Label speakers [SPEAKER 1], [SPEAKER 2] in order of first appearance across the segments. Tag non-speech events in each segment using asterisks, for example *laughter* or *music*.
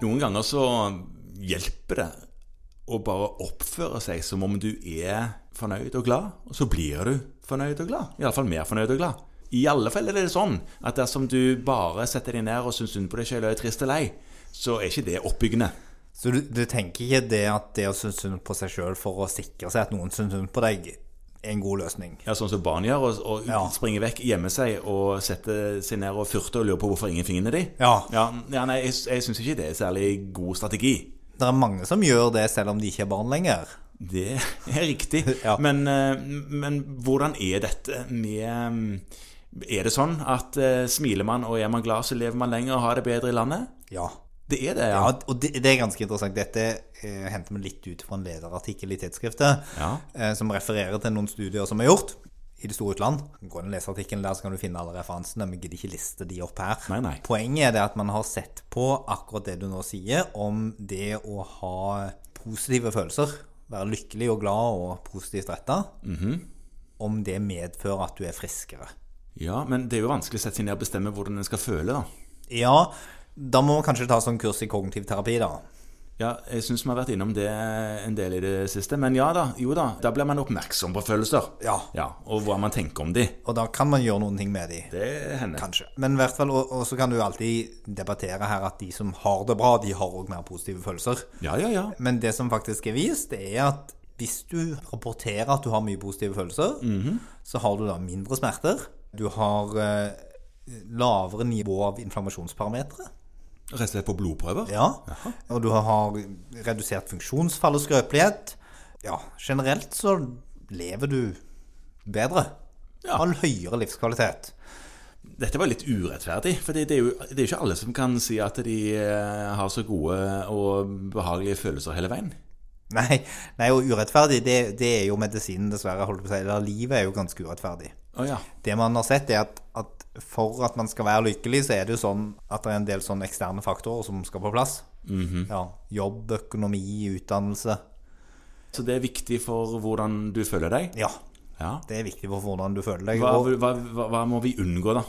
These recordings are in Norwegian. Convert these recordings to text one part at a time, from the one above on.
[SPEAKER 1] Noen ganger så hjelper det å bare oppføre seg som om du er fornøyd og glad, og så blir du fornøyd og glad. Iallfall mer fornøyd og glad. I alle fall er det sånn at dersom du bare setter deg ned og syns synd på deg sjøl og er trist og lei, så er ikke det oppbyggende.
[SPEAKER 2] Så du, du tenker ikke det at det å synes synd på seg sjøl for å sikre seg at noen synes synd på deg, er en god løsning?
[SPEAKER 1] Ja, Sånn som barn gjør, og, og
[SPEAKER 2] Ja.
[SPEAKER 1] springer vekk, gjemmer seg og setter seg ned og furter og lurer på hvorfor ingen finner de.
[SPEAKER 2] Ja.
[SPEAKER 1] Ja, ja nei, jeg, jeg syns ikke det er særlig god strategi.
[SPEAKER 2] Det er mange som gjør det selv om de ikke er barn lenger.
[SPEAKER 1] Det er riktig.
[SPEAKER 2] *laughs* Ja.
[SPEAKER 1] men, eh, men hvordan er dette med mm, Er det sånn at eh, smiler man og er man glad, så lever man lenger og har det bedre i landet?
[SPEAKER 2] Ja.
[SPEAKER 1] Det er det, ja.
[SPEAKER 2] ja og det, det er ganske interessant. Dette eh, henter vi litt ut fra en lederartikkel i tidsskriftet,
[SPEAKER 1] Ja.
[SPEAKER 2] eh, som refererer til noen studier som er gjort i det store utland. Gå inn og les artikkelen der, så kan du finne alle referansene. Vi gidder ikke liste de opp her.
[SPEAKER 1] Nei, nei.
[SPEAKER 2] Poenget er det at man har sett på akkurat det du nå sier, om det å ha positive følelser, være lykkelig og glad og positivt retta,
[SPEAKER 1] Mhm.
[SPEAKER 2] om det medfører at du er friskere.
[SPEAKER 1] ja. Men det er jo vanskelig å sette seg ned og bestemme hvordan en skal føle, da.
[SPEAKER 2] Ja, da må man kanskje ta sånn kurs i kognitiv terapi, da.
[SPEAKER 1] Ja, jeg syns vi har vært innom det en del i det siste. Men ja da, jo da. Da blir man oppmerksom på følelser.
[SPEAKER 2] Ja.
[SPEAKER 1] ja og hva man tenker om de.
[SPEAKER 2] Og da kan man gjøre noen ting med de.
[SPEAKER 1] Det hender.
[SPEAKER 2] Kanskje. Men i hvert fall, og, og så kan du jo alltid debattere her at de som har det bra, de har òg mer positive følelser.
[SPEAKER 1] Ja, ja, ja.
[SPEAKER 2] Men det som faktisk er vist, det er at hvis du rapporterer at du har mye positive følelser, så har du da mindre smerter. Du har eh, lavere nivå av inflammasjonsparametere.
[SPEAKER 1] Rett og slett på blodprøver?
[SPEAKER 2] Ja. Og du har redusert funksjonsfall og skrøpelighet. Ja, generelt så lever du bedre.
[SPEAKER 1] Ja.
[SPEAKER 2] Har høyere livskvalitet.
[SPEAKER 1] Dette var litt urettferdig, for det, det er jo det er jo ikke alle som kan si at de eh, har så gode og behagelige følelser hele veien.
[SPEAKER 2] *laughs* Nei, nei og urettferdig, det, det er jo medisinen, dessverre. holdt jeg på å si. Eller livet er jo ganske urettferdig.
[SPEAKER 1] Å ja.
[SPEAKER 2] Det man har sett, er at, at for at man skal være lykkelig, så er det jo sånn at det er en del sånne eksterne faktorer som skal på plass. ja, jobb, økonomi, utdannelse.
[SPEAKER 1] Så det er viktig for hvordan du føler deg?
[SPEAKER 2] Ja,
[SPEAKER 1] Ja.
[SPEAKER 2] det er viktig for hvordan du føler deg.
[SPEAKER 1] Hva,
[SPEAKER 2] og-
[SPEAKER 1] hva, hva, hva må vi unngå, da?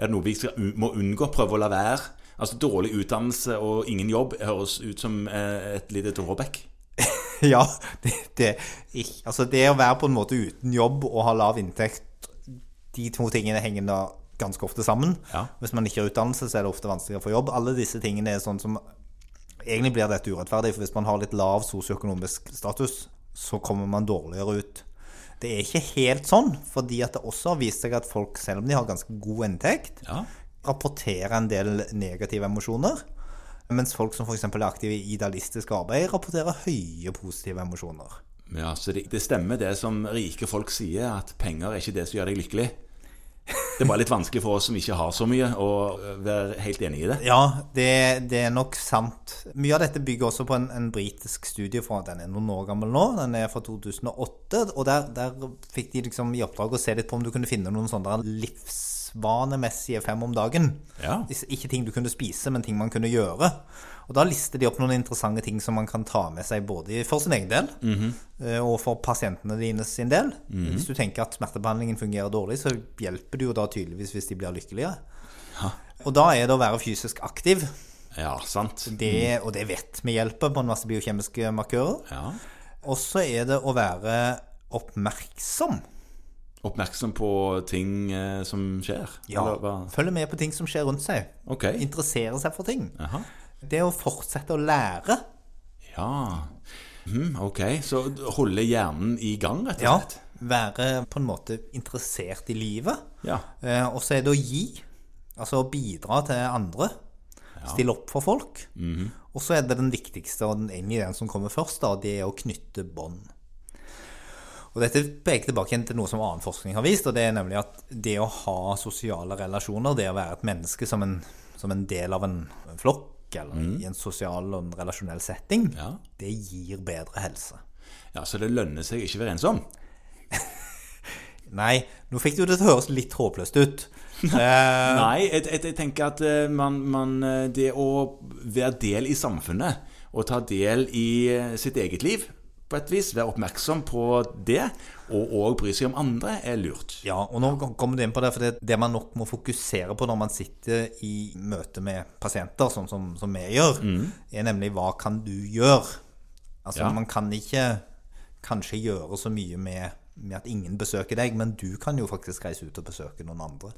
[SPEAKER 1] Er det noe vi skal, un- må unngå? Prøve å la være? Altså Dårlig utdannelse og ingen jobb høres ut som eh, et lite tårebekk.
[SPEAKER 2] *laughs* Ja, det, det, ikk- altså det å være på en måte uten jobb og ha lav inntekt, de to tingene henger da ganske ofte sammen.
[SPEAKER 1] Ja.
[SPEAKER 2] Hvis man ikke har utdannelse, så er det ofte vanskeligere å få jobb. Alle disse tingene er sånn som Egentlig blir dette urettferdig, for hvis man har litt lav sosioøkonomisk status, så kommer man dårligere ut. Det er ikke helt sånn, fordi at det også har vist seg at folk, selv om de har ganske god inntekt,
[SPEAKER 1] Ja.
[SPEAKER 2] rapporterer en del negative emosjoner. Mens folk som f.eks. er aktive i idealistisk arbeid, rapporterer høye positive emosjoner.
[SPEAKER 1] Ja, så det, det stemmer det som rike folk sier, at penger er ikke det som gjør deg lykkelig. Det var litt vanskelig for oss som ikke har så mye, å eh, være helt enig i det.
[SPEAKER 2] Ja, det, det er nok sant. Mye av dette bygger også på en, en britisk studie fra den er noen år gammel nå. Den er fra 2008. Og der, der fikk de liksom i oppdrag å se litt på om du kunne finne noen sånne livsvanemessige fem om dagen.
[SPEAKER 1] Ja.
[SPEAKER 2] Ikke ikke ting du kunne spise, men ting man kunne gjøre. Og da lister de opp noen interessante ting som man kan ta med seg både for sin egen del
[SPEAKER 1] Mhm.
[SPEAKER 2] eh, og for pasientene dine sin del. Hvis du tenker at smertebehandlingen fungerer dårlig, så hjelper det jo da tydeligvis hvis de blir lykkelige. Og da er det å være fysisk aktiv,
[SPEAKER 1] Ja, sant.
[SPEAKER 2] det, og det vet vi hjelper på en masse biokjemiske markører.
[SPEAKER 1] Ja.
[SPEAKER 2] Og så er det å være oppmerksom.
[SPEAKER 1] Oppmerksom på ting eh, som skjer. Eller hva?
[SPEAKER 2] Følge med på ting som skjer rundt seg.
[SPEAKER 1] Ok.
[SPEAKER 2] Interessere seg for ting.
[SPEAKER 1] Aha.
[SPEAKER 2] Det å fortsette å lære.
[SPEAKER 1] Ja. Mhm, ok, så holde hjernen i gang, rett og
[SPEAKER 2] Ja,
[SPEAKER 1] slett.
[SPEAKER 2] være på en måte interessert i livet.
[SPEAKER 1] Ja.
[SPEAKER 2] Eh, og så er det å gi, altså å bidra til andre. Stille opp for folk. Og så er det den viktigste, og den, egentlig den som kommer først, da, det er å knytte bånd. Og dette peker tilbake igjen til noe som annen forskning har vist, og det er nemlig at det å ha sosiale relasjoner, det å være et menneske som en, som en del av en, en flokk, eller i en sosial og en relasjonell setting,
[SPEAKER 1] Ja.
[SPEAKER 2] det gir bedre helse.
[SPEAKER 1] ja. Så det lønner seg ikke å være ensom.
[SPEAKER 2] Nei, nå fikk det jo det til å høres litt håpløst ut. Eh,
[SPEAKER 1] Nei, jeg, jeg, jeg tenker at eh, man, man, eh, det å være del i samfunnet og ta del i eh, sitt eget liv på et vis være oppmerksom på det, og òg bry seg om andre, er lurt.
[SPEAKER 2] Ja, og nå kommer du inn på det, for det, det man nok må fokusere på når man sitter i møte med pasienter, sånn som, som vi gjør, er nemlig hva kan du gjøre? Altså,
[SPEAKER 1] Ja.
[SPEAKER 2] man kan ikke kanskje gjøre så mye med, med at ingen besøker deg, men du kan jo faktisk reise ut og besøke noen andre.